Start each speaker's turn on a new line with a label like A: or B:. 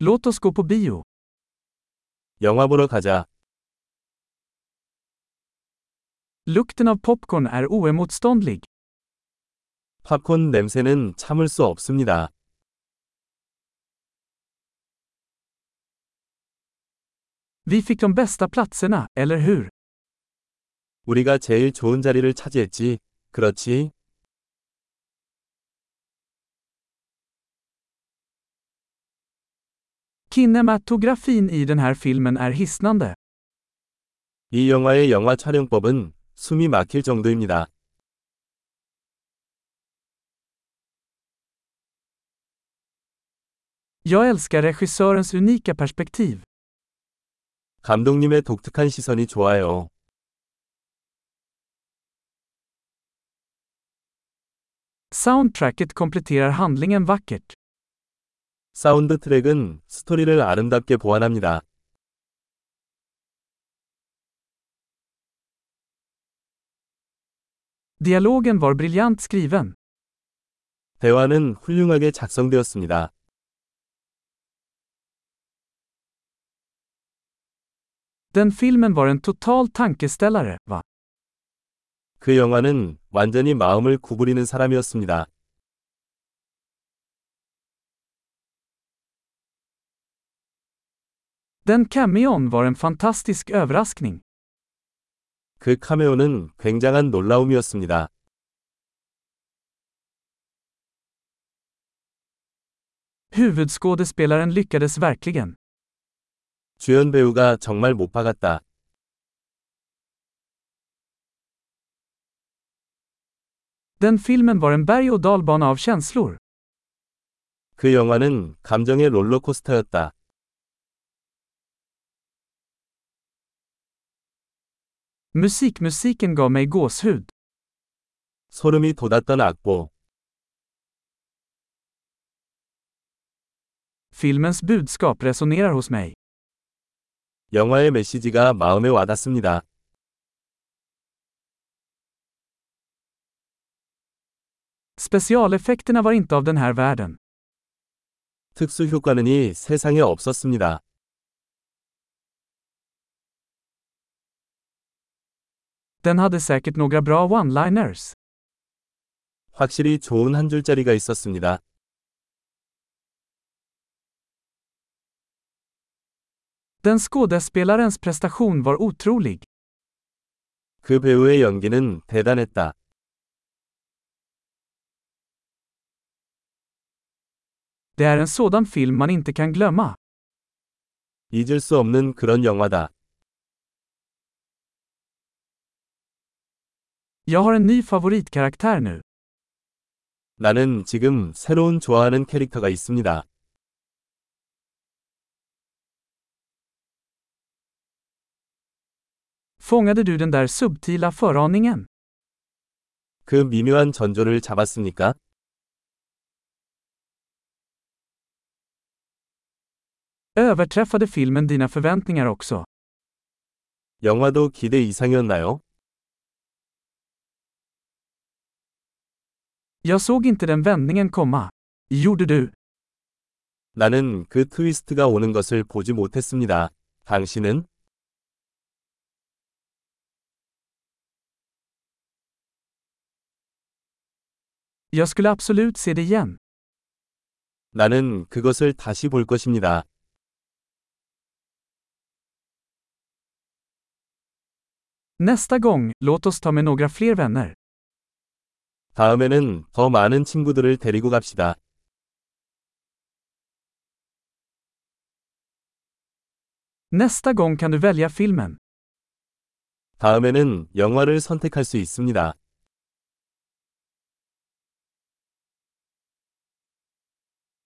A: Låt oss gå på bio.
B: 영화 보러 가자.
A: Lukten av popcorn är oemotståndlig.
B: 팝콘 냄새는 참을 수 없습니다.
A: Vi fick de bästa platserna, eller hur?
B: 우리가 제일 좋은 자리를 차지했지. 그렇지?
A: Kinematografin i den här filmen är hisnande.
B: 이 영화의 영화 촬영법은 숨이 막힐 정도입니다.
A: Jag älskar regissörens unika perspektiv.
B: 감독님의 독특한 시선이 좋아요.
A: Soundtracket kompletterar handlingen vackert.
B: 사운드 트랙은 스토리를 아름답게 보완합니다.
A: Dialogen var briljant skriven.
B: 대화는 훌륭하게 작성되었습니다.
A: Den filmen var en total tankeställare, va?
B: 그 영화는 완전히 마음을 구부리는 사람이었습니다.
A: Den cameon var en fantastisk överraskning.
B: 그 카메오는 굉장한 놀라움이었습니다.
A: Huvudskådespelaren lyckades verkligen.
B: 주연 배우가 정말 못 박았다.
A: Den filmen var en berg och dalbana av känslor.
B: 그 영화는 감정의 롤러코스터였다.
A: Musikmusiken gav mig gåshud.
B: 소름이 돋았던 악보.
A: Filmens budskap resonerar hos mig.
B: 영화의 메시지가 마음에 와닿습니다.
A: Specialeffekterna var inte av den här världen.
B: 특수 효과는 이 세상에 없었습니다.
A: Den hade säkert några bra one-liners.
B: 확실히 좋은 한 줄짜리가 있었습니다.
A: Den skådespelarens prestation var otrolig.
B: 그 배우의 연기는 대단했다.
A: Det är en sådan film man inte kan glömma.
B: 잊을 수 없는 그런 영화다.
A: Jag har en ny favoritkaraktär nu.
B: 나는 지금 새로운 좋아하는 캐릭터가 있습니다.
A: Fångade du den där subtila föraningen?
B: 그 미묘한 전조를 잡았습니까?
A: Överträffade filmen dina förväntningar också?
B: 영화도 기대 이상이었나요?
A: Jag såg inte den vändningen komma. Gjorde du?
B: 나는 그 트위스트가 오는 것을 보지 못했습니다. 당신은?
A: Jag skulle absolut se det igen.
B: 나는 그것을 다시 볼 것입니다.
A: Nästa gång, låt oss ta med några fler vänner.
B: 다음에는 더 많은 친구들을 데리고 갑시다.
A: Nästa gång kan du välja filmen.
B: 다음에는 영화를 선택할 수 있습니다.